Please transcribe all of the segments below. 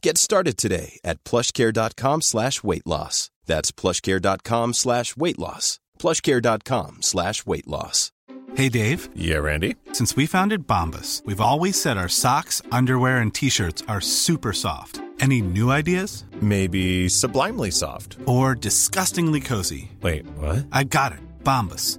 Get started today at plushcare.com slash weight loss. That's plushcare.com slash weight loss. Plushcare.com slash weight loss. Hey, Dave. Yeah, Randy. Since we founded Bombus, we've always said our socks, underwear, and t shirts are super soft. Any new ideas? Maybe sublimely soft. Or disgustingly cozy. Wait, what? I got it. Bombus.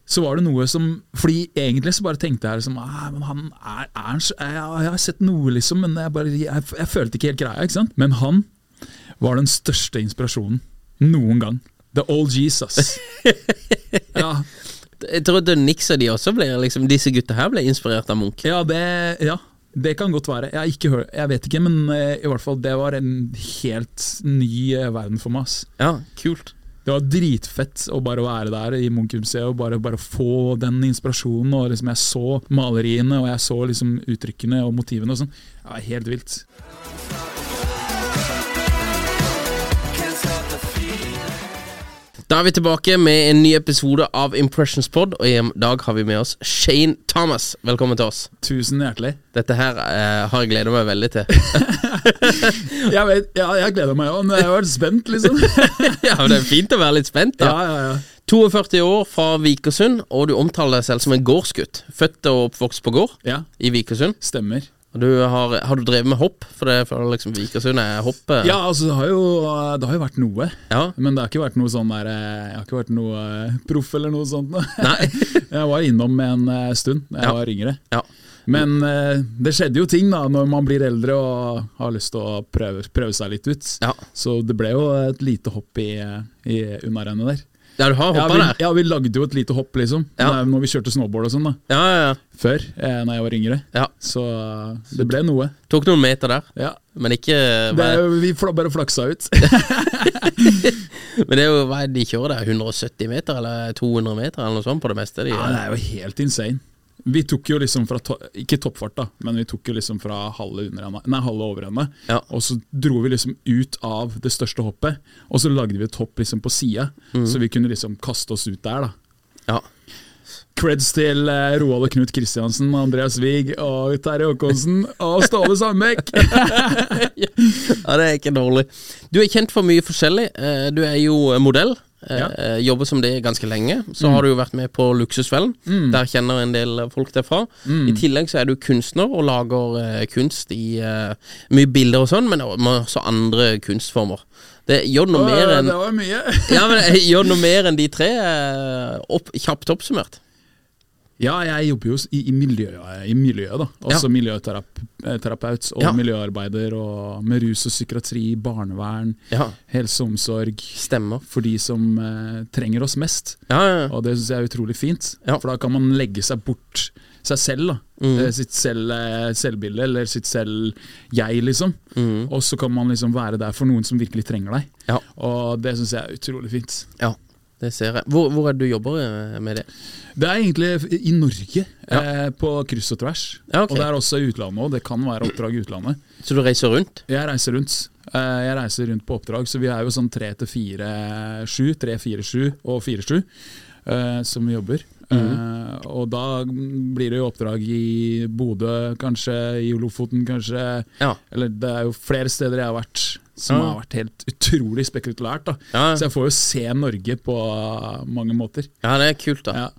så var det noe som Fordi egentlig så bare tenkte jeg liksom ah, men han er, er han så, jeg, jeg har sett noe, liksom, men jeg, bare, jeg, jeg følte ikke helt greia. ikke sant? Men han var den største inspirasjonen noen gang. The old Jesus. ja, Jeg trodde Nix og de også ble liksom, Disse gutta her ble inspirert av Munch. ja, det, ja, det kan godt være. Jeg, har ikke hør, jeg vet ikke, men eh, i hvert fall det var en helt ny eh, verden for meg. ass. Ja, kult. Det var dritfett å bare være der i Munch-museet og bare, bare få den inspirasjonen. Og liksom Jeg så maleriene og jeg så liksom uttrykkene og motivene. og sånn Det var helt vilt. Da er vi tilbake med en ny episode av Impressions Pod, og i dag har vi med oss Shane Thomas. Velkommen til oss. Tusen hjertelig. Dette her eh, har jeg gleda meg veldig til. Jeg, vet, ja, jeg gleder meg òg, men jeg har vært spent, liksom. ja, men Det er fint å være litt spent, Ja, da. ja, ja. 42 år fra Vikersund, og du omtaler deg selv som en gårdsgutt. Født og oppvokst på gård ja i Vikersund. stemmer. Og du har, har du drevet med hopp? For det for liksom Vikersund er hopp. eh. Ja, altså, det har jo, det har jo vært noe. ja. Men det har ikke vært noe sånn der eh, Jeg har ikke vært noe eh, proff eller noe sånt. Nei. Jeg var innom en eh, stund da jeg Ja. var yngre. ja. Men eh, det skjedde jo ting da når man blir eldre og har lyst til å prøve, prøve seg litt ut. Ja. Så det ble jo et lite hopp i, i unnarennet der. Ja, du har Ja hoppa vi, der? ja, vi lagde jo et lite hopp, liksom. Ja. Når- Når vi kjørte snowboard og sånn, da. Ja, ja, ja. Før, eh, når jeg var yngre. Ja. Så eh, det ble noe. Tok noen meter der, Ja. men ikke Det, hva er- er jo- vi fla- bare flaksa ut. Men det er jo hva er det de kjører der? 170 meter, eller 200 meter, eller noe sånt på det meste? De, Ja, det er jo helt insane. Vi tok jo liksom fra, to ikke toppfart da, men vi tok jo liksom fra halve, under henne, nei, halve over henne. Ja. Og så dro vi liksom ut av det største hoppet, og så lagde vi et hopp liksom på sida, Mm. så vi kunne liksom kaste oss ut der. da. ja. Creds til eh, Roald og Knut Kristiansen, Andreas Wiig og Terje Håkonsen og Ståle Sandbekk! ja, det er ikke dårlig. Du er kjent for mye forskjellig. Eh, Du er jo eh, modell. eh, Ja. Mm. eh, Jobber som det ganske lenge. Så har du jo vært med på Luksusfellen. Der kjenner en del eh, folk derfra. Mm. I tillegg så er du kunstner og lager eh, kunst i eh, mye bilder og sånn, men også andre kunstformer. Det gjør noe mer Åh, enn det var mye! ja, men jeg Gjør noe mer enn de tre, eh, opp, kjapt oppsummert. Ja, jeg jobber jo s- i, i, miljøet, i miljøet, da. Altså miljøterapeut og Ja. miljøarbeider og med rus og psykiatri, barnevern, Ja. helse og omsorg. Stemmer. For de som eh, trenger oss mest. Ja, ja, ja. Og det syns jeg er utrolig fint. Ja. Mm. For da kan man legge seg bort seg selv. da Eh, Sitt selv, eh, selvbilde, eller sitt selv jeg, liksom. Mm. Og så kan man liksom være der for noen som virkelig trenger deg. Ja. Og det syns jeg er utrolig fint. ja. Det ser jeg. Hvor, hvor er det du jobber eh, med det? Det er egentlig i Norge, Ja. eh, på kryss og tvers. Ja, ok. Og det er også i utlandet òg. Det kan være oppdrag i utlandet. Så du reiser rundt? Jeg reiser rundt. Eh, Jeg reiser rundt på oppdrag, så vi er jo sånn tre til fire, sju. Tre, fire, sju og fire, sju eh, som vi jobber. Mhm. Eh, og da blir det jo oppdrag i Bodø, kanskje, i Lofoten, kanskje. Ja. Eller det er jo flere steder jeg har vært som Ja. har vært helt utrolig spekulært. Da. Ja. Så jeg får jo se Norge på mange måter. Ja, det er kult, da. Ja.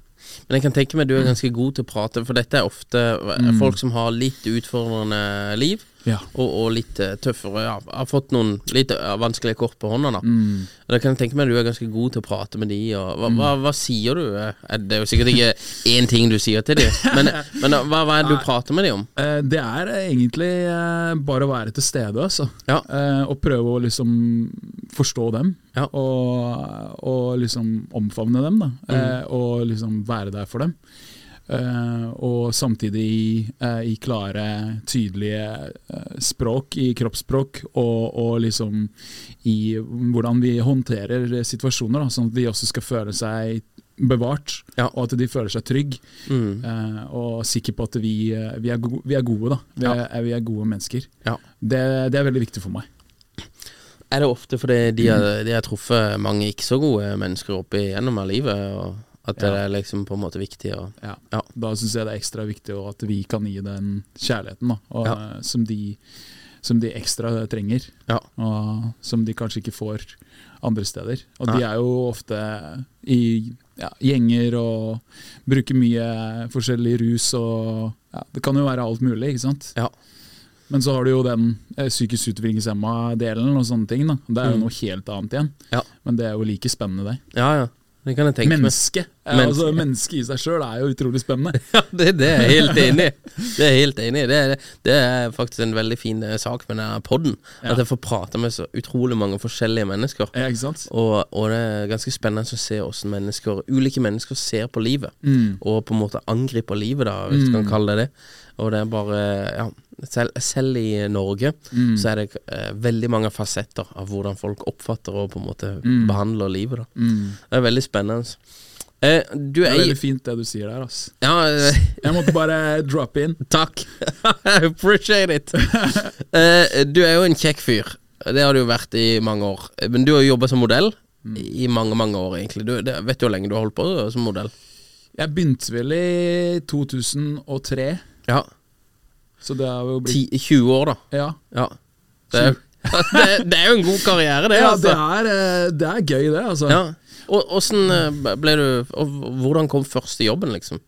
Men jeg kan tenke meg du er ganske god til å prate, for dette er ofte eh, folk som har litt utfordrende liv. Ja. Og, og litt eh, tøffere ja, Har fått noen litt eh, vanskelige kort på hånda. da Og Da kan jeg tenke meg at du er ganske god til å prate med de og Hva, hva, hva sier du? eh? Eh, Det er jo sikkert ikke én ting du sier til de men, men eh, hva, hva er det du prater med de om? Eh, Det er egentlig eh, bare å være til stede, altså. Ja. Eh, Og prøve å liksom forstå dem, Ja. og, og liksom omfavne dem. Da. Mm. Eh, Og liksom være der for dem. Eh, og samtidig eh, i klare, tydelige eh, språk, i kroppsspråk, og, og liksom i hvordan vi håndterer situasjoner, da, sånn at de også skal føle seg bevart, Ja. Mm. og at de føler seg trygg eh, og sikker på at vi, eh, vi, er, go vi er gode, da. Vi er, er- vi er gode mennesker. Ja. Det, det er veldig viktig for meg. Er det ofte fordi de har, de har truffet mange ikke så gode mennesker opp igjennom av livet? Og at det er liksom på en måte viktig å Ja. Ja. Da syns jeg det er ekstra viktig og at vi kan gi den kjærligheten da, og, eh, Ja. som, de, som de ekstra trenger. Ja. Og som de kanskje ikke får andre steder. Og de Nei. er jo ofte i ja, gjenger og bruker mye forskjellig rus og ja, Det kan jo være alt mulig, ikke sant. Ja. Men så har du jo den eh, psykisk utviklingshemma-delen og sånne ting. da. Det er jo noe helt annet igjen. Ja. Men det er jo like spennende, det. ja, ja. Det kan jeg tenke meg. Mennesket Menneske. altså, menneske i seg sjøl er jo utrolig spennende. Ja, det, det er jeg helt enig i. Det er jeg helt enig i. Det, er- det er faktisk en veldig fin eh, sak med denne podden. At jeg får prate med så utrolig mange forskjellige mennesker. Ja, ikke sant? Og, og det er ganske spennende å se hvordan mennesker, ulike mennesker ser på livet. Mm. Og på en måte angriper livet, da, hvis du kan kalle det det. Og det er bare ja, selv, selv i Norge Mm. så er det eh, veldig mange fasetter av hvordan folk oppfatter og på en måte Mm. behandler livet. da Det er veldig spennende. Eh, du Det er, er i veldig fint det du sier der, ass. ja, eh, Jeg måtte bare droppe inn. Takk. I appreciate it. Eh, du er jo en kjekk fyr. Det har du jo vært i mange år. Men du har jo jobba som modell i mange, mange år, egentlig. Du, det, vet du hvor lenge du har holdt på som modell? Jeg begynte vel i 2003, Ja. så det har jo blitt 10, 20 år, da. Ja, Ja. Det er, det, det er jo en god karriere, det. ja det, altså. er, eh, det er gøy, det, altså. Ja. Og åssen eh, ble du og Hvordan kom første jobben, liksom?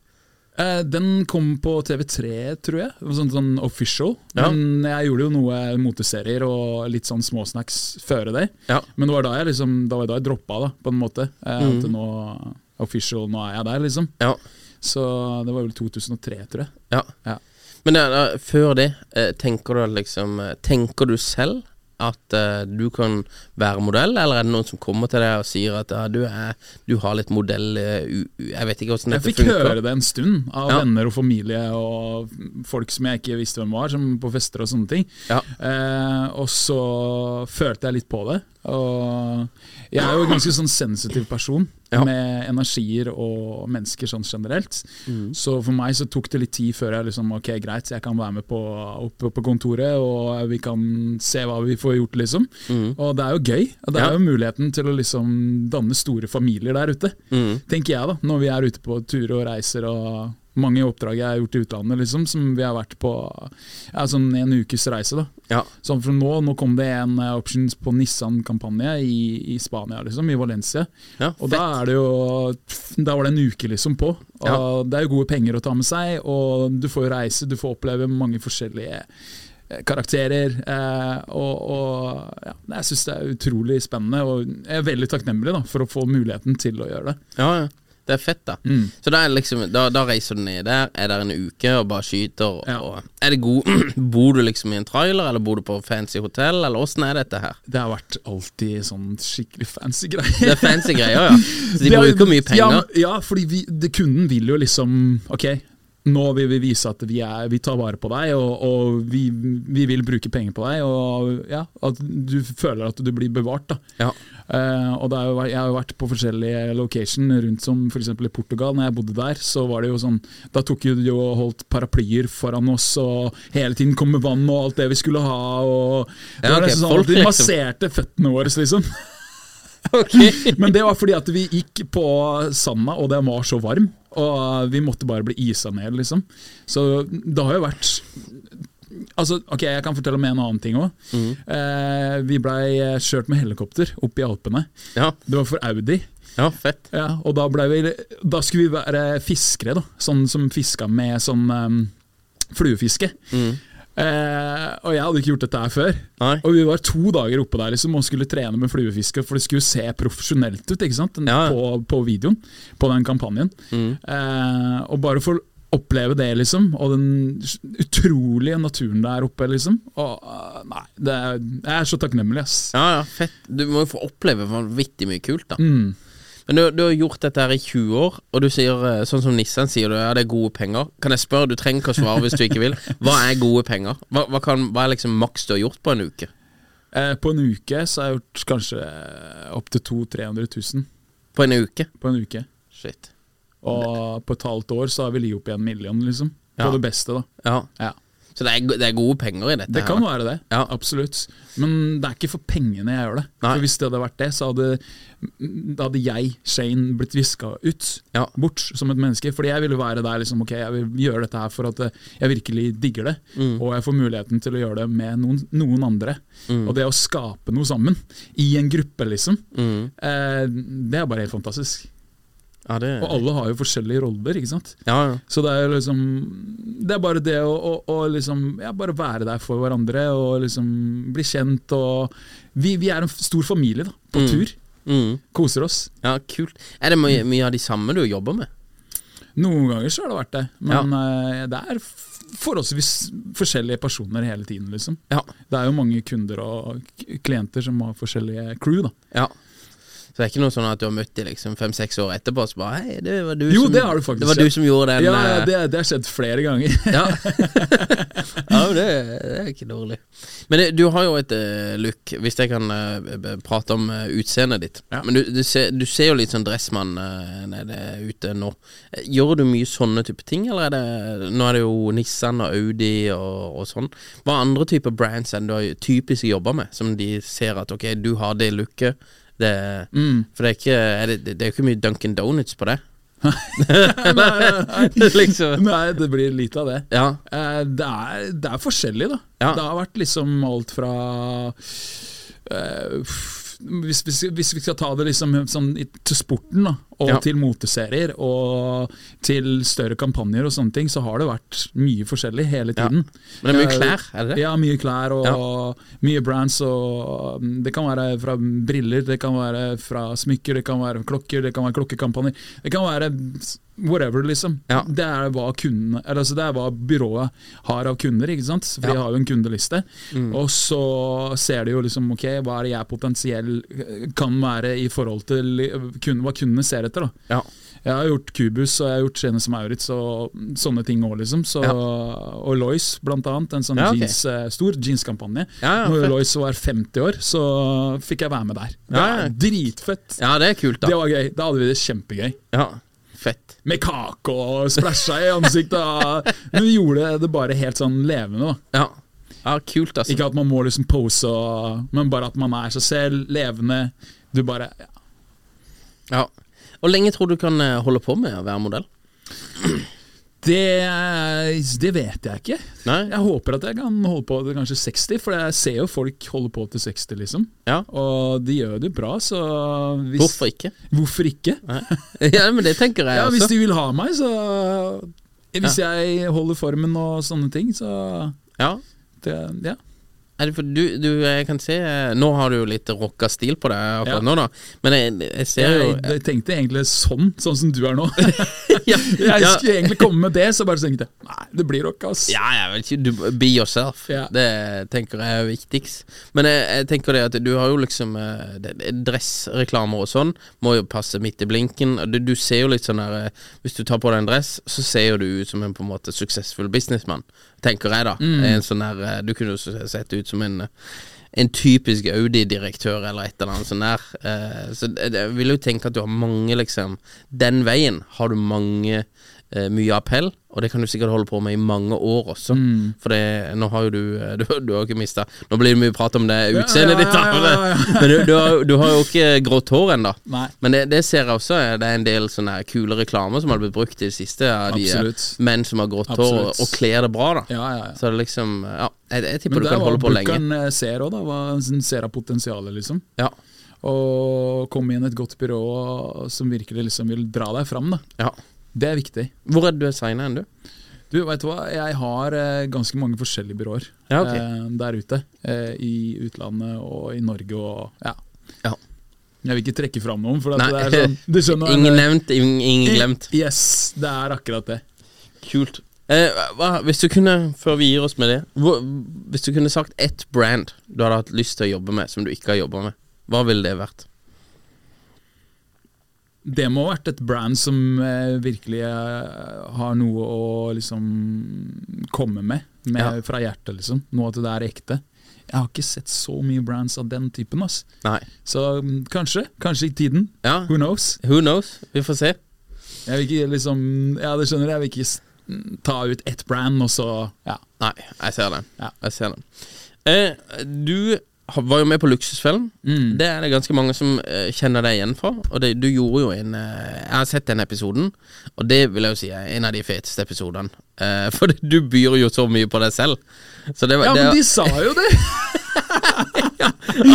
Eh, Den kom på TV3, tror jeg. Det var Sånn, sånn official. Ja. Men jeg gjorde jo noe moteserier og litt sånn småsnacks før det. Ja. Men det var da jeg liksom Det var da jeg droppa, da, på en måte. Eh, At Mm. nå Official, nå er jeg der, liksom. Ja. Så det var vel 2003, tror jeg. ja. Ja. Men eh, før det, eh, tenker du at liksom eh, Tenker du selv at eh, du kan være modell, eller er det noen som kommer til deg og sier at ah, du, er, du har litt modell eh, u, u, Jeg vet ikke hvordan Jeg dette fikk funker. høre det en stund av Ja. venner og familie og folk som jeg ikke visste hvem var, som på fester og sånne ting. Ja. Eh, og så følte jeg litt på det. Og jeg er jo en ganske sånn sensitiv person Ja. med energier og mennesker sånn generelt. Mm. Så for meg så tok det litt tid før jeg liksom Ok, greit, jeg kan være med på, oppe på kontoret, og vi kan se hva vi får gjort, liksom. Og det er jo gøy. og Det er Mm. Ja. jo muligheten til å liksom danne store familier der ute, Mm. tenker jeg da. Når vi er ute på turer og reiser og mange oppdrag jeg har gjort i utlandet, liksom, som vi har vært på ja, sånn en ukes reise. da. Ja. Sånn for nå, nå kom det en eh, options på Nissan-kampanje i, i Spania, liksom, i Valencia. Ja, og da er det jo Da var det en uke liksom på. Og Ja. Det er jo gode penger å ta med seg, og du får jo reise, du får oppleve mange forskjellige eh, karakterer. Eh, og og ja, jeg syns det er utrolig spennende, og jeg er veldig takknemlig da, for å få muligheten til å gjøre det. Ja, ja. Det er fett, da. Mm. Så da, er det liksom, da, da reiser du ned der, er der en uke og bare skyter. Og, Ja. og er det god Bor du liksom i en trailer, eller bor du på fancy hotell, eller åssen er dette her? Det har vært alltid sånn skikkelig fancy Det greier. er fancy greier, ja. Så de Det er- bruker mye penger. Ja, ja fordi vi, det, kunden vil jo liksom Ok, nå vil vi vise at vi, er, vi tar vare på deg, og, og vi, vi vil bruke penger på deg. Og ja, At du føler at du blir bevart. da Ja. Eh, og det er jo, vært- Jeg har jo vært på forskjellige location rundt som f.eks. i Portugal. Når jeg bodde der, så var det jo sånn Da tok jo de og holdt paraplyer foran oss, og hele tiden kom med vann og alt det vi skulle ha. Og det var Ja, ok, nesten sånn folk at De liksom- masserte føttene våre, liksom. ok. Men det var fordi at vi gikk på sanda, og den var så varm. Og vi måtte bare bli isa ned, liksom. Så det har jo vært Altså, ok, Jeg kan fortelle om en annen ting òg. Mm. Eh, vi blei kjørt med helikopter opp i Alpene. Ja, Det var for Audi. ja fett. Ja, og da, ble vi, da skulle vi være fiskere, da. Sånn som fiska med sånn ehm, fluefiske. Eh, og jeg hadde ikke gjort dette her før. Mm. Nei. Og vi var to dager oppe der liksom, og skulle trene med fluefiske, for det skulle se profesjonelt ut ikke sant? Ja. Mm. På, på videoen. På den kampanjen. Eh, og bare for oppleve det, liksom, og den utrolige naturen der oppe, liksom. Og, eh, nei, det er, jeg er så takknemlig, ass. Ja, ja, fett. Du må jo få oppleve vanvittig mye kult, da. Mm. Men du, du har gjort dette her i 20 år, og du sier, eh, sånn som Nissan sier, du, ja, det er gode penger. Kan jeg spørre, du trenger ikke å svare hvis du ikke vil. Hva er gode penger? Hva, hva, kan, hva er liksom maks du har gjort på en uke? Eh, på en uke så har jeg gjort kanskje eh, opptil 200 000-300 000 På en uke? på en uke. Shit. Og på et halvt år så har vi ligget opp i en million, liksom. På Ja. det beste, da. Ja. Ja. Så det er, go- det er gode penger i dette Det her. kan da. være det, Ja. absolutt. Men det er ikke for pengene jeg gjør det. Nei. For Hvis det hadde vært det, så hadde, da hadde jeg, Shane, blitt viska ut. Ja. Bort som et menneske. Fordi jeg ville være der liksom, ok, jeg vil gjøre dette her for at eh, jeg virkelig digger det. Mm. Og jeg får muligheten til å gjøre det med noen, noen andre. Mm. Og det å skape noe sammen, i en gruppe, liksom, Mm. eh, det er bare helt fantastisk. Ja, det Og alle har jo forskjellige roller, ikke sant. ja, ja. Så det er jo liksom Det er bare det å, å, å liksom ja, Bare være der for hverandre og liksom bli kjent og Vi, vi er en f- stor familie, da. På tur. Mm. Koser oss. ja, kult. Er det mye, mye av de samme du jobber med? Noen ganger så har det vært det, men eh, det er f- forholdsvis forskjellige personer hele tiden, liksom. Ja. Det er jo mange kunder og k- klienter som har forskjellige crew, da. ja. Så det er ikke noe sånn at du har møtt dem liksom fem-seks år etterpå, og så bare Hei, det var du Jo, som det har du faktisk Det var sett. du som gjorde den ja, ja, eh, det, det har skjedd flere ganger. Ja, ja men det, det er ikke dårlig. Men det, du har jo et eh, look, hvis jeg kan eh, b- b- prate om eh, utseendet ditt. Ja. Men du, du, ser, du ser jo litt sånn dressmann eh, nede ute nå. Eh, Gjør du mye sånne type ting, eller er det Nå er det jo Nissan og Audi og, og sånn. Hva andre typer brands enn du har typisk jobba med, som de ser at ok, du har det looket? Det, For det er ikke er det, det er jo ikke mye Duncan Donuts på det. liksom. Nei, det blir lite av det. Ja. Eh, det, er, det er forskjellig, da. Ja. Det har vært liksom alt fra eh, f- hvis, hvis, hvis vi skal ta det liksom sånn, i- til sporten, da, og Ja. til moteserier og til større kampanjer og sånne ting, så har det vært mye forskjellig hele Ja. tiden. Men det er mye Eh, klær, er det det? Ja, mye klær og mye brands. Og, mm, det kan være fra briller, det kan være fra smykker, det kan være klokker, det kan være klokkekampanjer. Det kan være s- whatever, liksom. Ja. Det, er hva kundene, eller, altså, det er hva byrået har av kunder, ikke sant? for Ja. Mm. de har jo en kundeliste. Og så ser de jo liksom ok, hva er det jeg potensiell eh, kan være i forhold til eh, kun- hva kundene ser etter. da Ja. jeg har gjort Cubus og jeg har gjort Genes Maurits og sånne ting òg, liksom. Så, Ja. Og Lois, blant annet. En sånn Ja, ok. jeans, eh, stor jeanskampanje. Ja, ja, Når fett. Lois var 50 år, så fikk jeg være med der. Det Ja, ja. er dritfett! Ja, det er kult, da. Det var gøy. Da hadde vi det kjempegøy. Ja, Fett. Med kake og splæsja i ansiktet. og- Men vi gjorde det bare helt sånn levende. da Ja, ja kult, altså. Ikke at man må liksom pose, og, men bare at man er seg selv, levende. Du bare Ja. Hvor lenge tror du kan eh, holde på med å være modell? Det, det vet jeg ikke. Nei? Jeg håper at jeg kan holde på til kanskje 60, for jeg ser jo folk holde på til 60, liksom. Ja. Og de gjør det bra, så hvis, Hvorfor ikke? Hvorfor ikke? Nei. Ja, altså. men det tenker jeg Ja, hvis også. de vil ha meg, så Hvis jeg holder formen og sånne ting, så Ja. det, Ja. Er det for du, du, jeg kan se eh, Nå har du jo litt rocka stil på deg akkurat Ja. nå, da. Men jeg, jeg ser jo Jeg, jeg tenkte egentlig sånn, sånn som du er nå. ja, Jeg ja, skulle egentlig komme med det, så bare tenkte jeg nei, det blir rock, ass. ja, jeg vet ikke. Du, be yourself. Ja. Det tenker jeg er viktigst. Men jeg, jeg tenker det at du har jo liksom eh, det- det- Dressreklamer og sånn må jo passe midt i blinken. Og Du, du ser jo litt sånn der eh, Hvis du tar på deg en dress, så ser jo du ut som en på en måte suksessfull businessmann, tenker jeg da. En sånn der, eh, du kunne jo s- sett ut som en eh, en typisk Audi-direktør eller et eller annet sånn der. Eh, Så det- det- jeg vil jo tenke at du har mange, liksom Den veien har du mange eh, mye appell, og det kan du sikkert holde på med i mange år også. Mm. For det, nå har jo du eh, Du, du har jo ikke mista Nå blir det mye prat om det utseendet ja, ditt, da. ja, ja, ja. Men du, du, har, du har jo ikke grått hår ennå. Nei. Men det, det ser jeg også. eh, Det er en del sånne her kule reklamer som har blitt brukt i det siste. Av de eh, Absolutt. menn som har grått hår og, Absolutt. og kler det bra, da. Ja, ja, ja. Så det er liksom Ja, jeg, jeg tipper Men det du er kan hva holde på lenge. bookeren eh, ser òg, da. Hva han ser av potensialet, liksom. Ja, Og komme inn et godt byrå som virkelig liksom vil dra deg fram, da. ja. Det er viktig. Hvor er du signa enn du? Du, vet du hva? Jeg har eh, ganske mange forskjellige byråer Ja, ok. eh, der ute. Eh, I utlandet og i Norge og ja. Ja. Jeg vil ikke trekke fram noen, for at Nei, det er sånn Du skjønner hva jeg Ingen mener. nevnt, ingen, ingen glemt. Yes, det er akkurat det. Kult. Eh, hva, hvis du kunne, før vi gir oss med det hvor, Hvis du kunne sagt ett brand du hadde hatt lyst til å jobbe med, som du ikke har jobba med, hva ville det vært? Det må ha vært et brand som eh, virkelig eh, har noe å liksom komme med, med Ja. fra hjertet, liksom. Noe at det er ekte. Jeg har ikke sett så mye brands av den typen, ass. Nei. Så mm, kanskje, kanskje i tiden. Ja, Who knows? who knows? Vi får se. Jeg vil ikke liksom Ja, det skjønner jeg. Jeg vil ikke s- mm, ta ut ett brand, og så Ja. Nei, jeg ser den. Ja. Jeg ser den. Eh, du har- var jo med på Luksusfellen. Mm. Det er det ganske mange som eh, kjenner deg igjen fra. Og det, du gjorde jo en eh, Jeg har sett den episoden, og det vil jeg jo si er en av de feteste episodene. Eh, for du byr jo så mye på deg selv. Så det var, Ja, det, men de sa jo det! ja,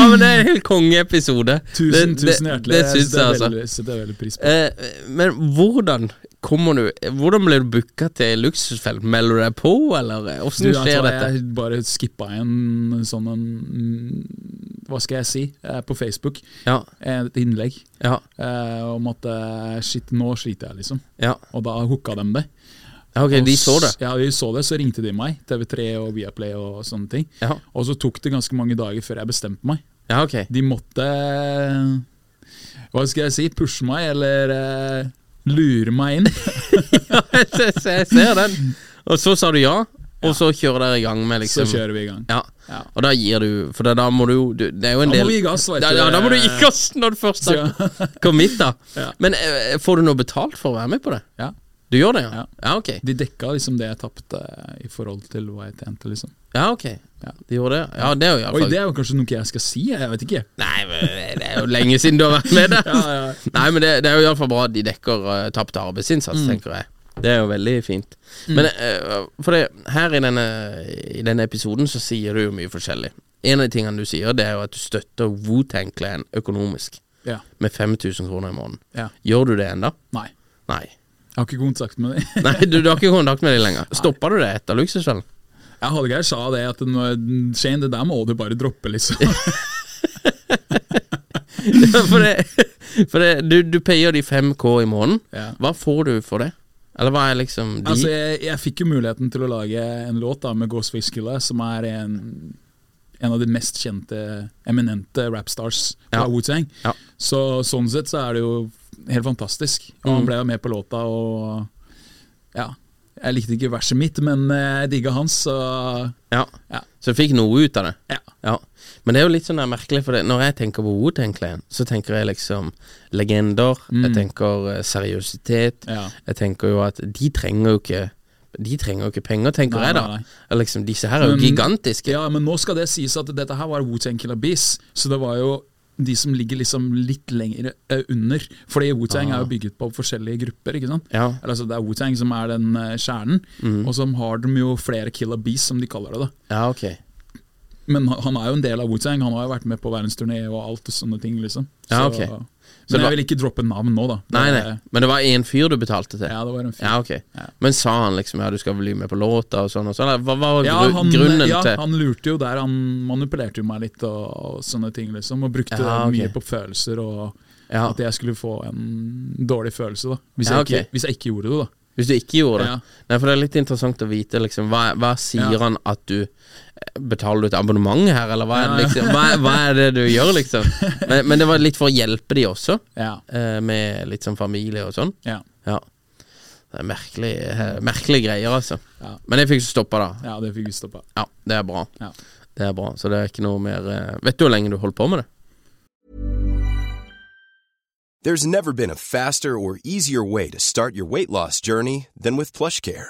men det er en helt kongeepisode. Tusen, Det- det- tusen hjertelig. Det syns jeg, setter altså. veldig- setter jeg veldig pris på. Eh, men hvordan kommer du Hvordan ble du booka til Luksusfellen? Melder du deg på, eller åssen Du, jeg skjer tror dette? jeg bare skippa en sånn en mm, Hva skal jeg si? eh, På Facebook. Ja, Et Eh, innlegg ja, eh, om at eh, shit, nå sliter jeg, liksom. ja. Og da hooka de det. ja ok, Og de så det. s- Ja, de så det, så ringte de meg. TV3 og Viaplay og sånne ting. Ja. Og så tok det ganske mange dager før jeg bestemte meg. Ja, ok. De måtte eh, Hva skal jeg si? Pushe meg, eller eh, lure meg inn. Jeg ser- jeg ser den. Og så sa du ja, og så kjører dere i gang med liksom Så kjører vi i gang. Ja. Ja. Og da gir du For da- da må du jo du- Det er jo en Da må del vi gi gass, vet da, du. ja, da må du gi gass når du først har kommet hit, da. Ja. Men eh, får du noe betalt for å være med på det? Ja. Du gjør det, ja? Ja, Ja. ok. De dekka liksom det jeg tapte eh, i forhold til hva jeg tjente, liksom. Ja, ok. Ja. Du gjorde det? Ja, det er jo Oi, iallfall det er jo kanskje noe jeg skal si, jeg vet ikke. Nei, men det er jo lenge siden du har vært med der. Ja, ja. Nei, men det, det er jo iallfall bra at de dekker uh, tapt arbeidsinnsats, Mm. tenker jeg. Det er jo veldig fint. Men eh, for det, her i denne, i denne episoden så sier du jo mye forskjellig. En av de tingene du sier, det er jo at du støtter Wutang-klan økonomisk Ja. med 5000 kroner i måneden. ja. Gjør du det ennå? Nei. Nei. Jeg har ikke kontakt med dem. Nei, du, du har ikke kontakt med dem lenger. Stoppa du det etter luksusfellen? Jeg Hallgeir sa det at nå- Shane, det der må du bare droppe, liksom. for det, for det, du, du payer de 5K i måneden. Ja. Hva får du for det? Eller hva er liksom de Altså, jeg, jeg fikk jo muligheten til å lage en låt da med Ghost Whiskilla, som er en, en av de mest kjente, eminente rapstars fra Ja. Wu-Tang. Ja. Så sånn sett så er det jo helt fantastisk. Og Mm. han ble jo med på låta, og ja Jeg likte ikke verset mitt, men eh, jeg digga hans, så Ja. Ja. Så du fikk noe ut av det? ja. Ja. Men det er jo litt sånn der merkelig, for det, når jeg tenker på Wu-Tang Clan, så tenker jeg liksom legender, jeg tenker eh, seriøsitet, Mm. Ja. jeg tenker jo at de trenger jo ikke de trenger jo ikke penger, tenker Nei, jeg da. nei, nei. Eller Liksom, disse her er jo Men- gigantiske. Ja, men nå skal det sies at dette her var Wu-Tang Killer Bees, så det var jo de som ligger liksom litt lenger eh, under. Fordi Wu-Tang er jo bygget på forskjellige grupper, ikke sant. Ah. Ja. Mhm. Eller, altså, det er Wu-Tang som er den eh, kjernen, og så har de jo flere Killer Bees, som de kaller det. da. Ja, ok. Men han- han er jo en del av Wu-Tang, han har jo vært med på verdensturné og alt og sånne ting, liksom. Så, Ja, ok. Så Men det var- jeg vil ikke droppe navn nå, da. Nei, nei. Det- Men det var én fyr du betalte til? Ja, det var en fyr. Ja, ok. Men sa han liksom ja, du skal bli med på låta og sånn og sånn? Eller Hva var Ja, gru han, grunnen ja, til han lurte jo der, han manipulerte jo meg litt og, og sånne ting, liksom. Og brukte Ja, ok. mye på følelser, og Ja. at jeg skulle få en dårlig følelse, da. Hvis, jeg, Ja, ok. ikke, hvis jeg ikke gjorde det, da. Hvis du ikke gjorde det? Ja. Nei, for det er litt interessant å vite, liksom. Hva, hva sier Ja. han at du eh, Betaler du et abonnement her, eller hva er det, Ja. liksom, hva, hva er det du gjør, liksom? Men, men det var litt for å hjelpe de også, Ja. eh, med litt sånn familie og sånn. Ja, Ja. Det er merkelig, eh, merkelige greier, altså. Ja. Men jeg fikk ikke stoppa, da. ja det fikk vi stoppa. Ja, det er bra. Ja. Det er bra, så det er ikke noe mer eh, Vet du hvor lenge du holdt på med det? There's never been a faster or easier way to start your weight loss journey than with PlushCare.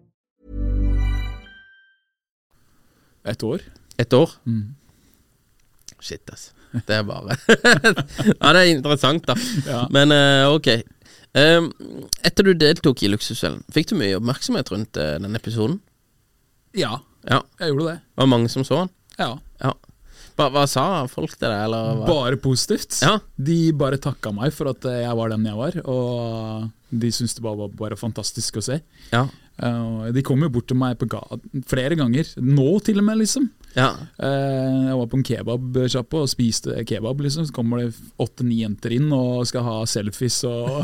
Et år. Et år? Shit, altså. Det er bare Ja, det er interessant, da. Ja. Men eh, ok. Em, etter du deltok i Luksusfellen, fikk du mye oppmerksomhet rundt eh, den episoden? Ja, Ja. jeg gjorde det. Var det mange som så den? Ja. Ja. Hva, hva sa folk til deg, eller hva? Bare positivt. Ja. De bare takka meg for at eh, jeg var den jeg var, og de syntes det bare var bare fantastisk å se. Ja. Eh, og de kom jo bort til meg på gaten flere ganger, nå til og med, liksom. ja. Eh, Jeg var på en kebabsjappe og spiste kebab. liksom Så kommer det åtte-ni jenter inn og skal ha selfies og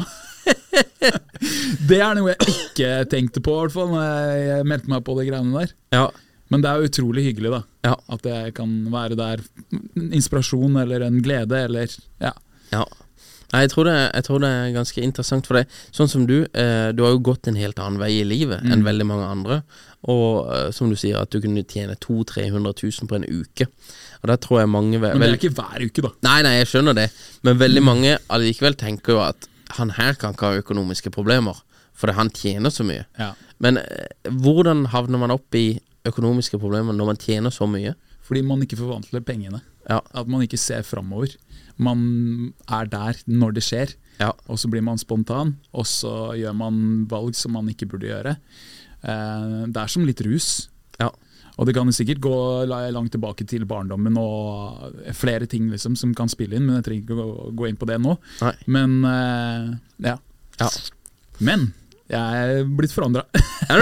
Det er noe jeg ikke tenkte på, i hvert fall, når jeg meldte meg på de greiene der. Ja. Men det er jo utrolig hyggelig, da. Ja. At jeg kan være der. En Inspirasjon eller en glede eller Ja. ja. Nei, jeg tror, det, jeg tror det er ganske interessant for deg. Sånn som du, eh, du har jo gått en helt annen vei i livet enn Mm. veldig mange andre. Og eh, som du sier, at du kunne tjene 200 000-300 000 på en uke. Og da tror jeg mange ve- Men det vel- er ikke Mm. hver uke, da. Nei, nei, jeg skjønner det. Men veldig mange allikevel tenker jo at han her kan ikke ha økonomiske problemer, fordi han tjener så mye. Ja. Men eh, hvordan havner man opp i økonomiske problemer når man tjener så mye? Fordi man ikke forvandler pengene. Ja. At man ikke ser framover. Man er der når det skjer. Ja. Og så blir man spontan, og så gjør man valg som man ikke burde gjøre. Eh, Det er som litt rus. Ja. Og det kan sikkert gå la- langt tilbake til barndommen og flere ting liksom som kan spille inn, men jeg trenger ikke å gå- gå inn på det nå. Nei. Men eh, ja. Ja. Men jeg er blitt forandra. Er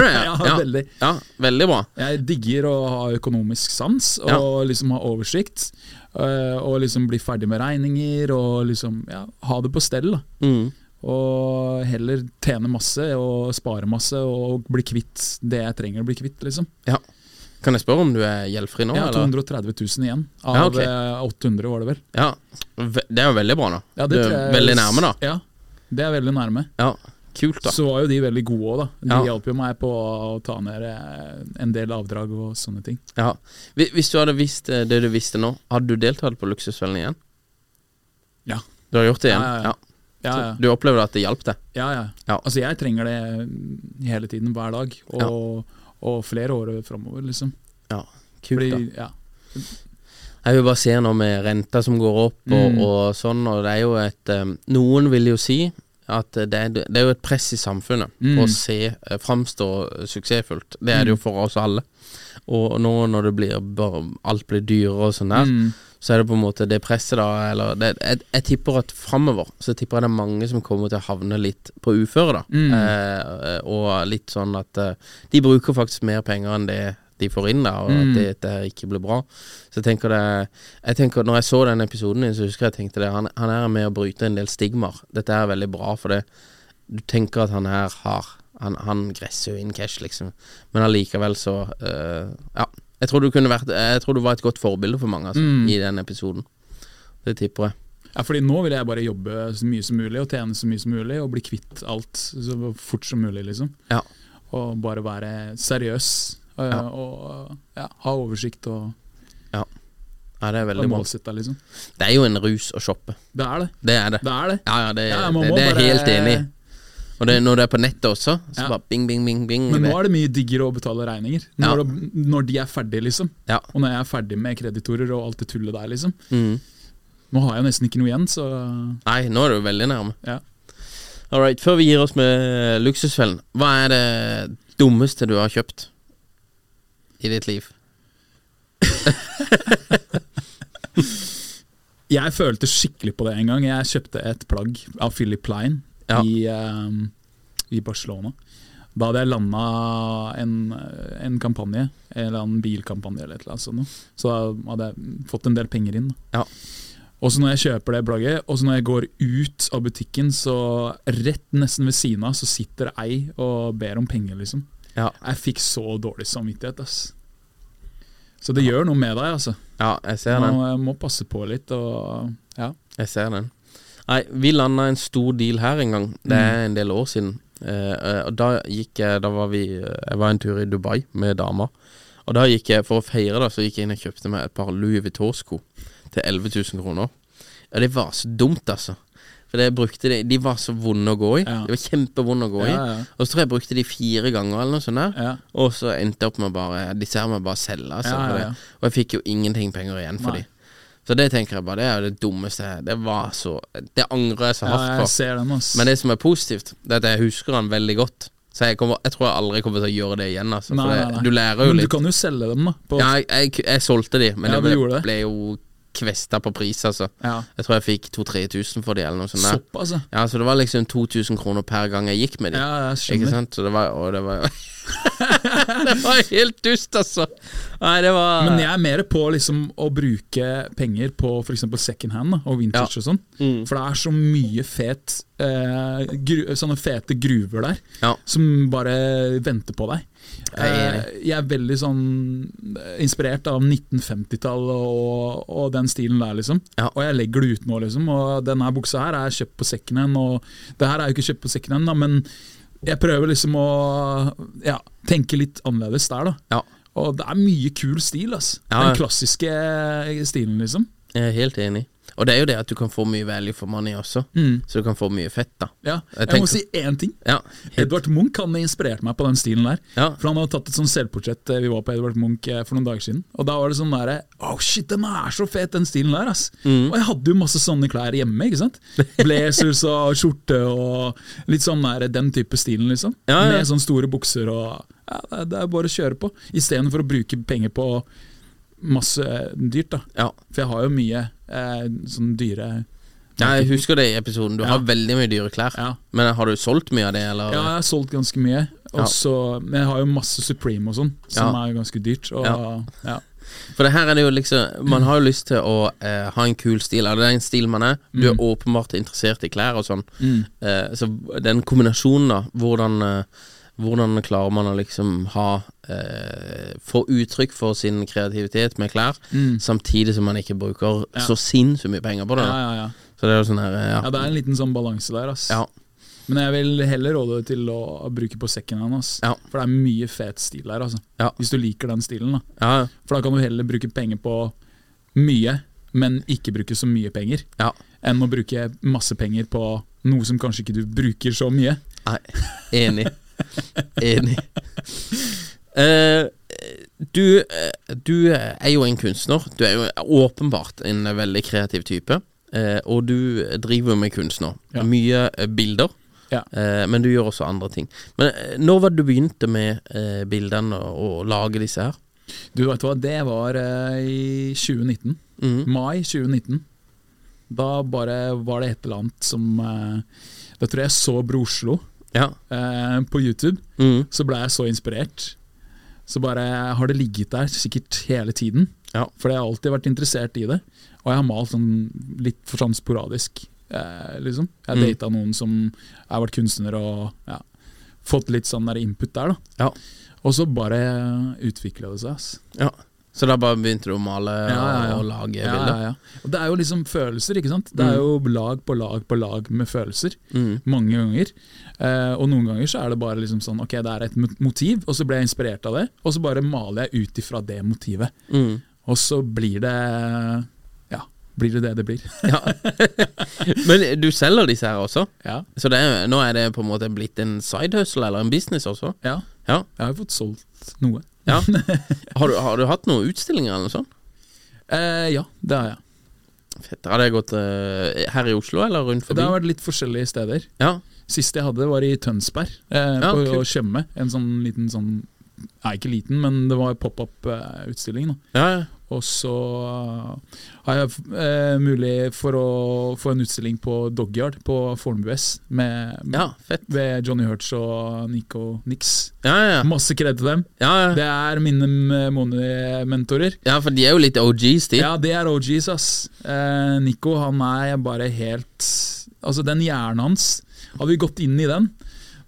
det det? Ja, veldig. Ja, veldig bra. Jeg digger å ha økonomisk sans og Ja. liksom ha oversikt. øh, Og liksom bli ferdig med regninger og liksom ja, ha det på stell. da Mm. Og heller tjene masse og spare masse og bli kvitt det jeg trenger å bli kvitt. liksom Ja. Kan jeg spørre om du er gjeldfri nå? Jeg har eller? 230 000 igjen av Ja, ok. eh, 800, var det vel. Ja, Ve- Det er jo veldig bra, da. Ja, du det er tror jeg- veldig nærme, da. Ja, det er veldig nærme. Ja, Kult, da. Så var jo de veldig gode òg, da. De Ja. hjalp jo meg på å ta ned eh, en del avdrag og sånne ting. Ja. Hvi- Hvis du hadde visst eh, det du visste nå, hadde du deltatt på Luksusfellen igjen? Ja, Du har gjort det igjen? Ja, ja, ja. ja, ja. Du opplevde at det hjalp deg? Ja, ja. Ja. Altså, jeg trenger det hele tiden, hver dag, og, og flere år framover, liksom. Ja, kult da Fordi, ja. Jeg vil bare se nå med renta som går opp og, Mm. og sånn, og det er jo et eh, Noen vil jo si at det er, det er jo et press i samfunnet Mm. på å se eh, framstå suksessfullt. Det er det jo for oss alle. Og nå når det blir bare, alt blir dyrere og sånn der, Mm. så er det på en måte det presset, da eller det, jeg, jeg tipper at framover så tipper jeg det er mange som kommer til å havne litt på uføre, da. Eh, og litt sånn at eh, de bruker faktisk mer penger enn det de får inn, da, og at det, det her ikke blir bra. Så jeg tenker det Jeg tenker Når jeg så den episoden din, så husker jeg jeg tenkte det han, han her er med å bryte en del stigmaer. Dette er veldig bra, for det du tenker at han her har Han, han gresser jo inn cash, liksom. Men allikevel så eh, Ja. Jeg tror, du kunne vært, jeg tror du var et godt forbilde for mange altså, i den episoden. Det tipper jeg. ja, fordi nå vil jeg bare jobbe så mye som mulig, og tjene så mye som mulig, og bli kvitt alt så fort som mulig, liksom. Ja. Og bare være seriøs, øh, Ja. og ja, ha oversikt og, ja. ja det er og veldig bra. målsette, liksom. Det er jo en rus å shoppe. Det er det. Det er det. Det er det. Ja, ja, det, Ja, man det, må det er jeg helt bare- enig i. Og det, når det er på nettet også, så Ja. bare bing, bing, bing, bing. Men nå det- er det mye diggere å betale regninger. Ja. Når, det, når de er ferdige, liksom. ja. Og når jeg er ferdig med kreditorer og alt det tullet der, liksom. mm. Nå har jeg jo nesten ikke noe igjen, så Nei, nå er du veldig nærme. ja. All right, før vi gir oss med eh, luksusfellen, hva er det Dummeste du har kjøpt i ditt liv? Jeg følte skikkelig på det en gang. Jeg kjøpte et plagg av Philip Line Ja. i, ehm, i Barcelona. Da hadde jeg landa en, en kampanje, en eller annen bilkampanje eller et eller annet sånt. noe. Så da hadde jeg fått en del penger inn. da. Ja. Og så når jeg kjøper det plagget, og så når jeg går ut av butikken, så rett nesten ved siden av, så sitter ei og ber om penger, liksom. Ja. Jeg fikk så dårlig samvittighet, ass. Så det gjør noe med deg, altså. ja, jeg ser den. Man må passe på litt og Ja. Jeg ser den. Nei, vi landa en stor deal her en gang. Det er Mm. en del år siden. Eh, eh, og da gikk jeg Da var vi eh, Jeg var en tur i Dubai med dama. Og da gikk jeg, for å feire, da, så gikk jeg inn og kjøpte meg et par Louis Vuitton-sko til 11 000 kroner. Ja, det var så dumt, altså. For jeg brukte de, de var så vonde å gå i. Ja. De var kjempevonde å gå i. Ja, ja. Og så tror jeg jeg brukte de fire ganger, eller noe sånt. der Ja. Og så endte jeg opp med bare Disse her må jeg bare selge. Altså, Ja, ja, for det. ja. Og jeg fikk jo ingenting penger igjen for Nei. de. Så det tenker jeg bare, det er jo det dummeste Det var så Det angrer jeg så Ja, hardt jeg på. ser den, ass. Men det som er positivt, det er at jeg husker han veldig godt. Så jeg, kommer, jeg tror jeg aldri kommer til å gjøre det igjen. Altså, Nei, for det, nei, nei. Du lærer jo Men du litt. kan jo selge dem, da. På, Ja, jeg, jeg, jeg solgte de, men Ja, det du ble, gjorde det. ble jo kvesta på pris, altså. Ja. Jeg tror jeg fikk 2000-3000 for de, eller noe sånt. der. Sopp, altså. Ja, så det var liksom 2000 kroner per gang jeg gikk med de. Ja, jeg Ikke skjønner. sant? Så det var, og det var Det var helt dust, altså. Nei, det var Men jeg er mer på liksom å bruke penger på f.eks. second hand da, og vintage Ja. og sånn. For det er så mye fet, eh, gru, sånne fete gruver der Ja. som bare venter på deg. Jeg er Eh, jeg er veldig sånn eh, inspirert av 1950-tallet og, og den stilen der, liksom. Ja. Og jeg legger det ut nå, liksom. Og denne buksa her er kjøpt på secondhand, og det her er jo ikke kjøpt på secondhand, da, men jeg prøver liksom å ja, tenke litt annerledes der, da. Ja. Og det er mye kul stil, ass. Ja, ja. Den klassiske stilen, liksom. Jeg er helt enig. Og det er jo det at du kan få mye value for money også. Så du kan få mye fett, da. Mm. Ja. Jeg Jeg, tenker- må si én ting. Ja, helt, Edvard Munch han inspirerte meg på den stilen der. Ja. For Han hadde tatt et sånn selvportrett eh, vi var på Edvard Munch eh, for noen dager siden. Og Da var det sånn der, oh shit, den er så fet, den stilen der. ass Mm. Og jeg hadde jo masse sånne klær hjemme. ikke sant? Blazers og skjorte og litt sånn der, den type stilen, liksom. Ja, ja. Med sånne store bukser og ja, det er- Det er bare å kjøre på. Istedenfor å bruke penger på masse eh, dyrt, da. ja. For jeg har jo mye eh, sånn dyre ja, jeg husker det i episoden. Du har veldig mye dyre klær. Ja. Men har du solgt mye av det, Ja, eller? jeg har solgt ganske mye. Ja. Og så Men jeg har jo masse Supreme og sånn, som Ja. er ganske dyrt. Og, Ja. ja. For det her er det jo liksom Man har jo lyst til å eh, ha en kul stil. Eller det er en stil man er. Du Mm. er åpenbart interessert i klær og sånn. Eh, så den kombinasjonen, da. Hvordan, eh, hvordan klarer man å liksom ha eh, Få uttrykk for sin kreativitet med klær, Mm. samtidig som man ikke bruker så sinnssykt mye penger Ja, på det. ja, ja. Så det er jo sånn her eh, ja, det er en liten sånn balanse der, ass. Ja. Men jeg vil heller råde deg til å bruke på sekken hand, ass. Ja. For det er mye fet stil der, altså. Ja. Hvis du liker den stilen, da. Ja, For da kan du heller bruke penger på mye, men ikke bruke så mye penger, ja. enn å bruke masse penger på noe som kanskje ikke du bruker så mye. Nei, enig. Enig. Eh, du, eh, du er jo en kunstner. Du er jo åpenbart en veldig kreativ type. eh, og du driver jo med kunstner. Ja. Mye eh, bilder, Ja. eh, men du gjør også andre ting. Men eh, når var det du begynte med eh, bildene og, og lage disse her? Du vet hva, det var eh, i 2019. Mai 2019. Da bare var det et eller annet som eh, Da tror jeg jeg så Broslo Ja. eh, på YouTube. Mhm. Så ble jeg så inspirert. Så bare har det ligget der sikkert hele tiden. Ja. For jeg har alltid vært interessert i det. Og jeg har malt sånn litt for sånn sporadisk, eh, liksom. Jeg har data noen som har vært kunstner og ja, fått litt sånn der input der, da. Ja. Og så bare utvikla det seg. ass. ja. Så da bare begynte du å male Ja, ja, ja. og lage Ja, bilder? ja, Mm. ja. Og det er jo liksom følelser, ikke sant? Det er jo lag på lag på lag med følelser. Mange ganger. Eh, og noen ganger så er det bare liksom sånn Ok, det er et mot- motiv, og så blir jeg inspirert av det. Og så bare maler jeg ut ifra det motivet. Og så blir det Ja, blir det det det blir. Ja. Men du selger disse her også? ja. Så det er, nå er det på en måte blitt en side hustle, eller en business også? ja. Ja. Jeg har jo fått solgt noe. ja. Har, du, har du hatt noen utstillinger eller noe sånt? Eh, ja, det har jeg. Fett. Har det gått eh, her i Oslo, eller rundt Det forbi? Mm. har vært litt forskjellige steder. Ja. Siste jeg hadde, var i Tønsberg, eh, Ja, på kult. Tjøme. En sånn liten sånn Nei, ikke liten, men det var pop up-utstilling. da Ja, ja. og så har jeg eh, mulighet for å få en utstilling på Dogyard på Fornebu S. Med, ja fett. Ved Johnny Hurts og Nico Nix. Ja, ja. Masse kred til dem. ja, ja. Det er mine eh, m- monementorer. ja, for de er jo litt OGs, de. Ja, det er OGs, ass. Eh, Nico, han er bare helt Altså, den hjernen hans Hadde vi gått inn i den,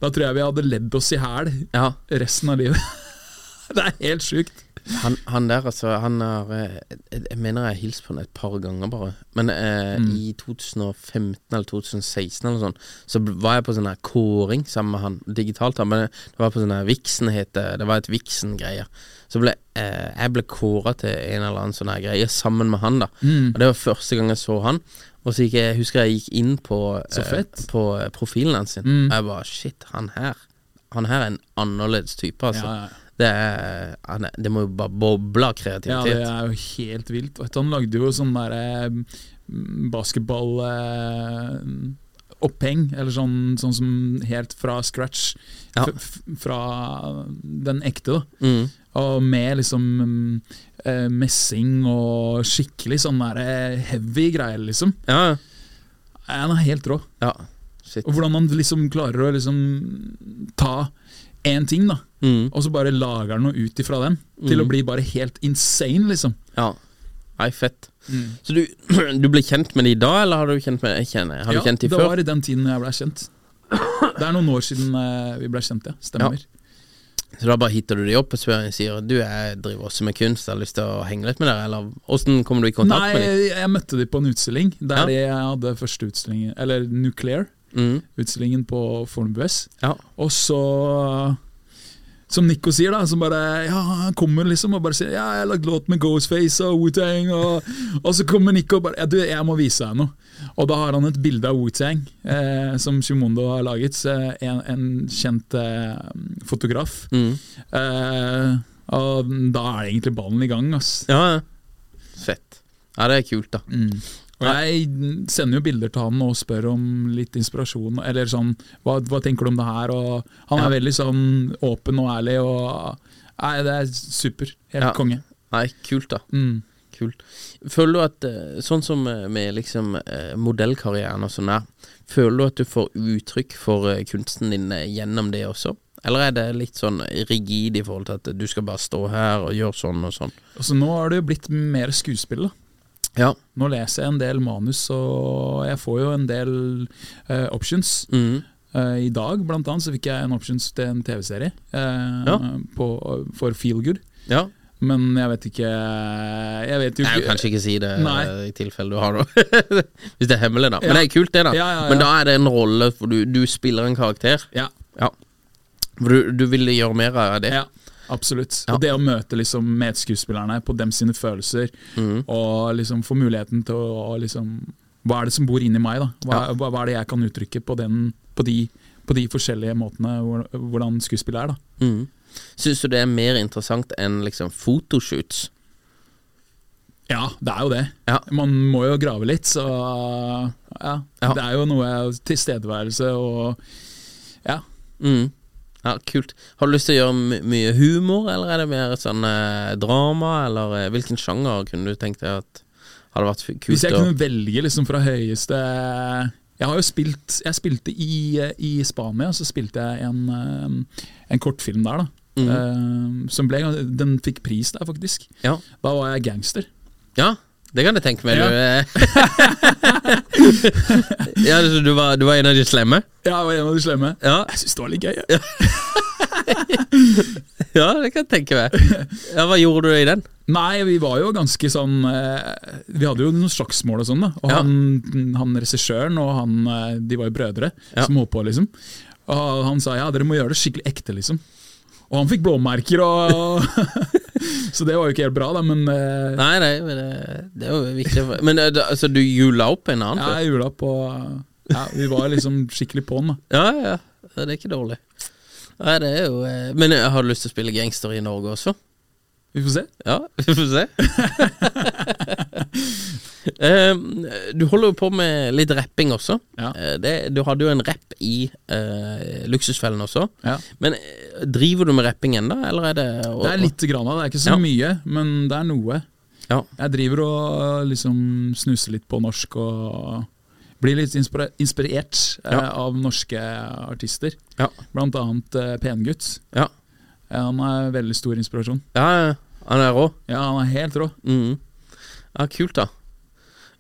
da tror jeg vi hadde ledd oss i hæl Ja. resten av livet. det er helt sjukt. Han, han der, altså, han har eh, Jeg jeg mener jeg har hilst på han et par ganger, bare. Men eh, Mm. i 2015 eller 2016 eller sånn, så bl- var jeg på sånn her kåring sammen med han, digitalt. da, Men det var på sånn her Vixen het det. Det var et Vixen-greie. Så ble eh, jeg ble kåra til en eller annen sånn her greie sammen med han, da. Mm. Og det var første gang jeg så han. Og så gikk jeg, jeg husker jeg gikk inn på, Så fett. Mm. på eh, profilen hans sin, og jeg bare Shit, han her. Han her er en annerledes type, altså. Ja, ja. Det, er, han er, det må jo bare boble av Ja, kreativitet. det er jo helt vilt. Vet du, han lagde jo sånn derre basketball-oppheng, eh, eller sånn, sånn som helt fra scratch. Ja. F f- fra den ekte, da. Mm. Og med liksom mm, eh, messing og skikkelig sånn derre heavy greier, liksom. ja, ja. Nei, Han er helt rå. ja. Shit. Og hvordan han liksom klarer å liksom ta én ting, da, Mm. og så bare lager han noe ut ifra den, til å bli bare helt insane, liksom. Ja. Nei, fett. Mm. Så du, du ble kjent med de da, eller har du kjent med kjenner, Har ja, du kjent de det før? var i den tiden jeg ble kjent. Det er noen år siden eh, vi ble kjent, ja. Stemmer. Så da bare hitter du de opp og spør og sier du, jeg driver også med kunst, jeg har lyst til å henge litt med dere, eller åssen kommer du i kontakt Nei, med dem? jeg, jeg møtte de på en utstilling der Ja. de- jeg hadde første utstilling, eller Nuclear-utstillingen Mm. på Fornebu S. Ja. Og så som Nico sier, da, som bare ja, han kommer liksom og bare sier ja, 'jeg har lagd låt med Ghostface og Wu-Tang', og, og så kommer Nico og bare ja, 'du, jeg må vise deg noe'. Og da har han et bilde av Wu-Tang eh, som Shimondo har laget, så en, en kjent eh, fotograf. Mm. Eh, og da er egentlig ballen i gang, ass. Ja, ja. Fett. Ja, det er kult, da. Mm. Og jeg sender jo bilder til han og spør om litt inspirasjon, eller sånn Hva, hva tenker du om det her? Og han er Ja. veldig sånn åpen og ærlig og Nei, det er super. Helt Ja. konge. Nei, kult, da. Mm. Kult. Føler du at, eh, sånn som eh, med liksom eh, modellkarrieren og sånn der, føler du at du får uttrykk for eh, kunsten din eh, gjennom det også? Eller er det litt sånn rigid i forhold til at du skal bare stå her og gjøre sånn og sånn? Og så nå har det jo blitt mer skuespill, da. Ja. Nå leser jeg en del manus, og jeg får jo en del eh, options. Mm. Eh, I dag, blant annet, så fikk jeg en options til en TV-serie eh, Ja. på- for Feel Good. Ja. Men jeg vet ikke Jeg vet jo Nei, ikke jeg kan kanskje ikke si det Nei. eh, i tilfelle du har det. Hvis det er hemmelig, da. Men Ja. det er kult, det, Ja, da. ja, ja. Men da er det en rolle hvor du, du spiller en karakter. Ja, Ja. Hvor du, du vil gjøre mer av det. ja absolutt. Ja. Og det å møte liksom medskuespillerne på dem sine følelser, Mm. og liksom få muligheten til å å liksom Hva er det som bor inni meg, da? Hva, Ja. hva, hva er det jeg kan uttrykke på, den, på, de, på de forskjellige måtene hvor- hvordan skuespill er, da? Mm. Syns du det er mer interessant enn liksom fotoshoots? Ja, det er jo det. Ja. Man må jo grave litt, så ja. Ja. Det er jo noe tilstedeværelse og Ja. Mm. Ja, kult. Har du lyst til å gjøre my mye humor, eller er det mer sånn eh, drama, eller eh, hvilken sjanger kunne du tenkt deg at hadde vært f- kult? Hvis jeg å- kunne velge liksom fra høyeste Jeg har jo spilt Jeg spilte i, i Spania, så spilte jeg en, eh, en kortfilm der, da. Mhm. Eh, som ble, den fikk pris der, faktisk. Ja. Da var jeg gangster. ja, det kan jeg tenke meg. Ja. Du, eh. ja, så du, var, du var en av de slemme? Ja, jeg var en av de slemme. Ja, Jeg syns det var litt gøy. jeg. ja det kan jeg tenke meg. Ja, Hva gjorde du i den? Nei, vi var jo ganske sånn eh, Vi hadde jo noen slagsmål og sånn, da. Og Ja. han, han regissøren og han eh, De var jo brødre Ja. som holdt på, liksom. Og han sa ja, dere må gjøre det skikkelig ekte, liksom. Og han fikk blåmerker og Så det var jo ikke helt bra, da, men eh, Nei, nei, men det, det er jo viktig. for- Men eh, da- altså, du jula opp en annen? ja, fyr? jeg jula på ja, Vi var liksom skikkelig på'n, da. Ja, ja. ja, Det er ikke dårlig. Nei, det er jo eh, Men eh, har du lyst til å spille gangster i Norge også? Vi får se. Ja, vi får se. Ehm, du holder jo på med litt rapping også. Ja. Eh, Det, du hadde jo en rapp i eh, Luksusfellen også. Ja. Men eh, driver du med rapping ennå, eller er det Det er litt grann av det. Det er ikke så Ja. mye, men det er noe. Ja. Jeg driver og liksom snuser litt på norsk og blir litt inspira- inspirert eh, Ja. av norske artister. Ja. Blant annet eh, Pengutt. ja. Ja, han er veldig stor inspirasjon. Ja, han er rå. Ja, han er helt rå. Mhm. Ja, kult, da.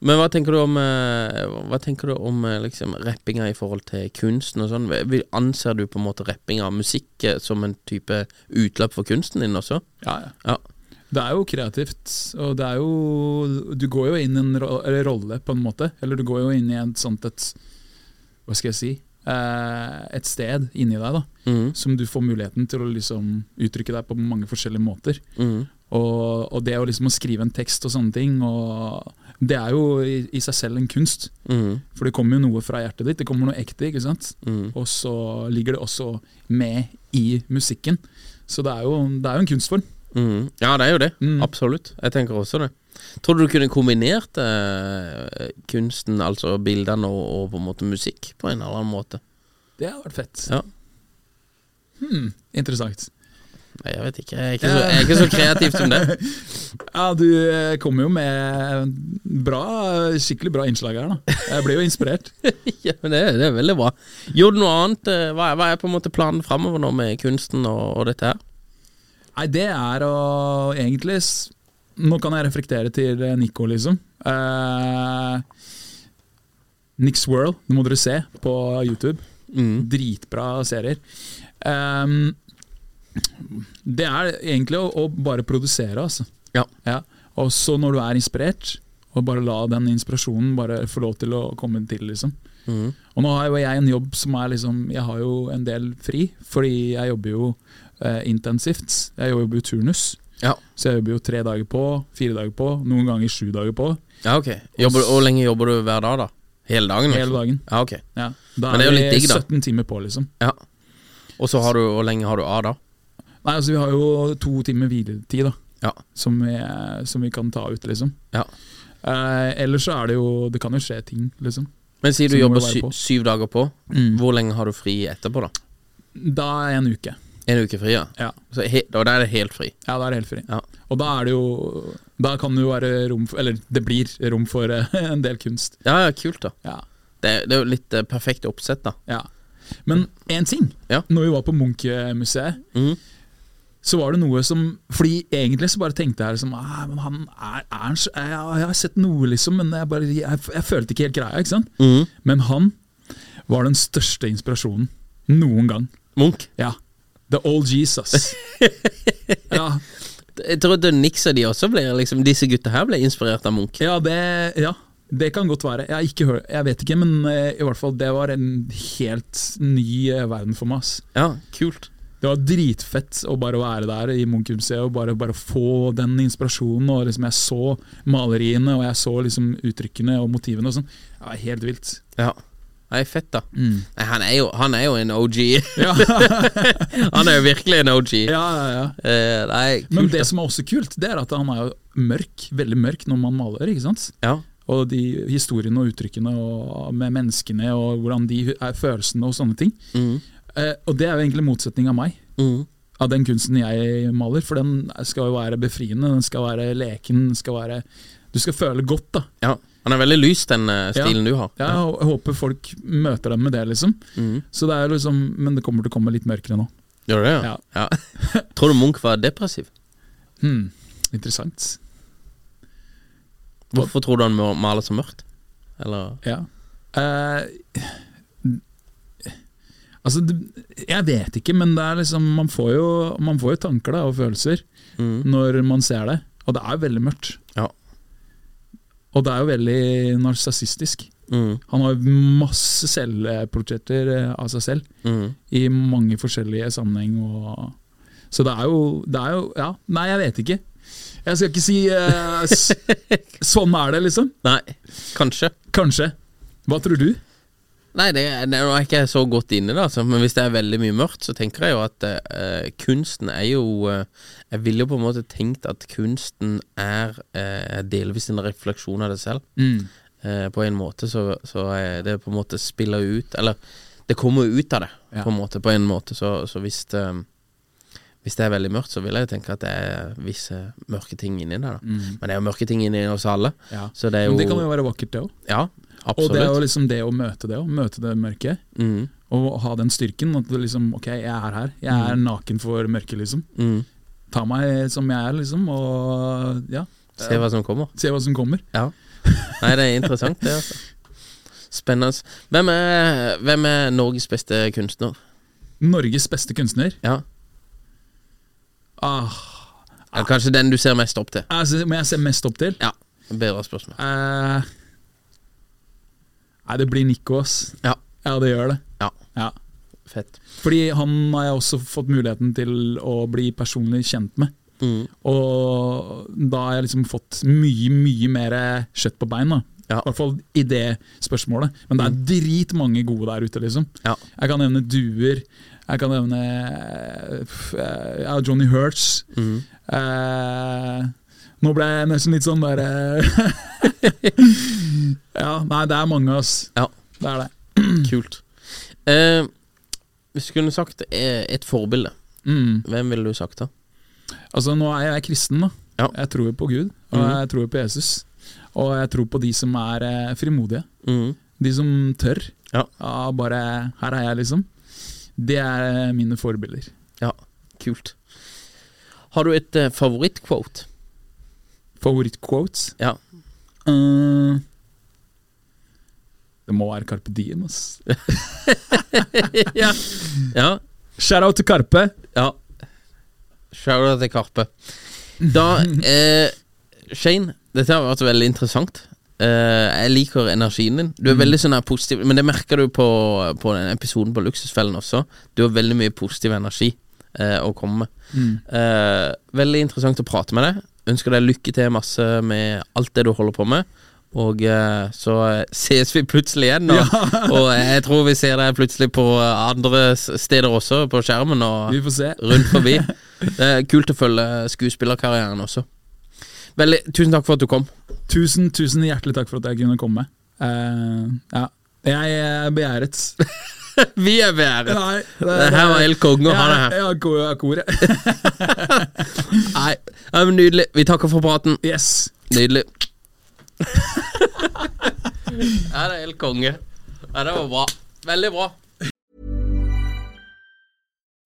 Men hva tenker du om eh, Hva tenker du om eh, liksom rappinga i forhold til kunsten og sånn? Vil- Anser du på en måte rappinga av musikk eh, som en type utløp for kunsten din også? Ja, ja. Ja. Det er jo kreativt, og det er jo Du går jo inn i en ro- eller rolle, på en måte. Eller du går jo inn i et sånt et Hva skal jeg si eh, Et sted inni deg da Mhm. som du får muligheten til å liksom uttrykke deg på mange forskjellige måter. Mhm. Og, og det å liksom å skrive en tekst og sånne ting, og det er jo i, i seg selv en kunst. Mhm. For det kommer jo noe fra hjertet ditt, det kommer noe ekte, ikke sant. Mhm. Og så ligger det også med i musikken. Så det er jo, det er jo en kunstform. Mhm. Ja, det er jo det. Mm. Absolutt. Jeg tenker også det. Tror du du kunne kombinert eh, kunsten, altså bildene og, og på en måte musikk, på en eller annen måte? Det har vært fett. Ja. Hmm, interessant. Nei, jeg vet ikke. Jeg er ikke så, jeg er ikke så kreativ som det. Ja, du eh, kommer jo med bra, skikkelig bra innslag her, da. Jeg blir jo inspirert. Ja, men det, det er veldig bra. Gjorde du noe annet? eh, Hva er, hva er på en måte planen framover nå med kunsten og, og dette her? Nei, det er å egentlig s- Nå kan jeg reflektere til eh, Nico, liksom. Eh, Nick Swirl, nå må dere se på YouTube. Dritbra serier. Ehm, det er egentlig å, å bare produsere, altså. Ja. Ja. Og så når du er inspirert, og bare la den inspirasjonen bare få lov til å komme til, liksom. Mm. Og nå har jo jeg en jobb som er liksom Jeg har jo en del fri, fordi jeg jobber jo eh, intensivt. Jeg jobber jo turnus, Ja. så jeg jobber jo tre dager på, fire dager på, noen ganger sju dager på. ja, ok. Jobber, du- hvor lenge jobber du hver dag, da? Hele dagen? Hele liksom? dagen. Ja, ok. Ja. Da Men det er, er jo vi litt digg, da. 17 timer på, liksom. Ja. Og så har du Hvor lenge har du av da? Nei, altså vi har jo to timer hviletid, da, Ja. som vi, som vi kan ta ut, liksom. ja. Eh, ellers så er det jo Det kan jo skje ting, liksom. Men sier du Så må jobber det være sy på. Mm. syv dager på. Hvor lenge har du fri etterpå, da? Da er en uke. En uke fri, ja. Ja. Så he og da er det helt fri. Ja, da er det helt fri. Ja. Og da er det jo Da kan det jo være rom for Eller det blir rom for eh, en del kunst. Ja, ja, kult, da. Ja. Det, er- det er jo litt eh, perfekt oppsett, da. ja. Men én ting. Ja. Når vi var på Munch-museet, Mhm. så var det noe som Fordi egentlig så bare tenkte jeg liksom «Ah, men han er, er han så, jeg, jeg har sett noe, liksom, men jeg, bare, jeg, jeg følte ikke helt greia. ikke sant? Men han var den største inspirasjonen noen gang. Munch. Ja. The old Jesus. ja, Jeg trodde Nix og de også ble liksom, Disse gutta her ble inspirert av Munch. Ja, det, ja, det kan godt være. Jeg, har ikke hør, jeg vet ikke, men eh, i hvert fall det var en helt ny eh, verden for meg. ass. Ja, kult. Det var dritfett å bare være der i Munch-museet og bare, bare få den inspirasjonen. Og liksom Jeg så maleriene og jeg så liksom uttrykkene og motivene. og sånn Det var helt vilt. Ja. Nei, fett, da. Mm. Nei, han, er jo, han er jo en OG. Ja, han er jo virkelig en OG. ja, ja, ja. Eh, nei, kult. Men det da. som er også kult, det er at han er jo mørk, veldig mørk når man maler. ikke sant? ja. Og de historiene og uttrykkene og med menneskene og hvordan de er følelsene og sånne ting. Mm. Eh, og det er jo egentlig motsetning av meg, Mhm. av den kunsten jeg maler. For den skal jo være befriende, den skal være leken, den skal være Du skal føle godt, da. ja. Han er veldig lys, den eh, stilen du har. Mm. Jeg hå- håper folk møter dem med det, liksom. Så det er jo liksom Men det kommer til å komme litt mørkere nå. Gjør det, ja? ja. Tror du Munch var depressiv? Hmm. Interessant. Hvorfor tror du han må- maler så mørkt? Eller Ja. Eh, altså, det, jeg vet ikke, men det er liksom Man får jo, man får jo tanker da, og følelser når man ser det. Og det er jo veldig mørkt. Ja. Og det er jo veldig narsissistisk. Mhm. Han har jo masse selvportretter eh, av seg selv Mhm. i mange forskjellige sammenheng. Og så det er, jo, det er jo Ja, nei, jeg vet ikke. Jeg skal ikke si eh, s Sånn er det, liksom. Nei, kanskje. Kanskje. Hva tror du? Nei, det, det nå er ikke jeg så godt inne, da, så, men hvis det er veldig mye mørkt, så tenker jeg jo at eh, kunsten er jo eh, Jeg ville jo på en måte tenkt at kunsten er eh, delvis en refleksjon av det selv. Eh, på en måte så, så er det på en måte spiller ut Eller det kommer jo ut av det, Ja. på en måte. På en måte så, så hvis, det, hvis det er veldig mørkt, så vil jeg jo tenke at det er visse mørke ting inni der. Da. Men det er jo mørke ting inni oss alle. Ja. Så det er jo Mm. Men det kan jo være vakkert, det òg. Ja, Og absolutt. det er jo liksom det å møte det òg. Møte det mørke. mm, Og ha den styrken. At det liksom, ok, jeg er her. Jeg er naken for mørket, liksom. mm. Ta meg som jeg er, liksom. Og ja, Se hva som kommer. se hva som kommer. Ja. Nei, det er interessant, det. altså Spennende. Hvem er, hvem er Norges beste kunstner? Norges beste kunstner. Ja. Ah, Eller kanskje den du ser mest opp til? altså, må jeg se mest opp til? Ja. Bedre spørsmål. Eh, nei, det blir Nico, ass. Ja. Ja, det gjør det. Ja. Ja. Fett. Fordi han har jeg også fått muligheten til å bli personlig kjent med. Mm. Og da har jeg liksom fått mye, mye mer kjøtt på bein. da. Ja. Mm. I hvert fall i det spørsmålet. Men det er dritmange gode der ute, liksom. Ja. Jeg kan nevne Duer. Jeg kan nevne eh, f- eh, ja, Johnny Hertz. Mm. Eh, nå ble jeg nesten litt sånn der eh, Ja, nei, det er mange, ass. Ja. Det er det. Kult. Eh, hvis du kunne sagt eh, et forbilde, Mm. hvem ville du sagt da? Altså, nå er jeg kristen, da. Ja. Jeg tror jo på Gud, og Mhm. jeg tror jo på Jesus. Og jeg tror på de som er eh, frimodige. Mm. De som tør. Ja. bare Her er jeg, liksom. Det er eh, mine forbilder. Ja, kult. Har du et eh, favorittquote? Favorittquotes? Ja. Eh, det må være Carpe Diem, ass. ja. ja. Shout out til Karpe. Ja. Shout-out til Karpe. Da eh, Shane, dette har vært veldig interessant. Eh, jeg liker energien din. Du er veldig sånn her positiv, men det merker du på, på den episoden på Luksusfellen også. Du har veldig mye positiv energi eh, å komme med. Eh, veldig interessant å prate med deg. Ønsker deg lykke til masse med alt det du holder på med. Og eh, så eh, ses vi plutselig igjen, og, og jeg tror vi ser deg plutselig på eh, andre s- steder også, på skjermen. Og, Vi får se. rundt forbi. Det er kult å følge skuespillerkarrieren også. Veldig, tusen takk for at du kom. Tusen, tusen hjertelig takk for at jeg kunne komme. Eh, ja. Jeg er begjæret. Vi er været. Nei, Det her var helt konge å ha det her. Ja, ja, ko- ja, koret. Nei, ja, men Nydelig. Vi takker for praten. Yes. Nydelig. Ja, det er helt konge. Ja, det var bra. Veldig bra.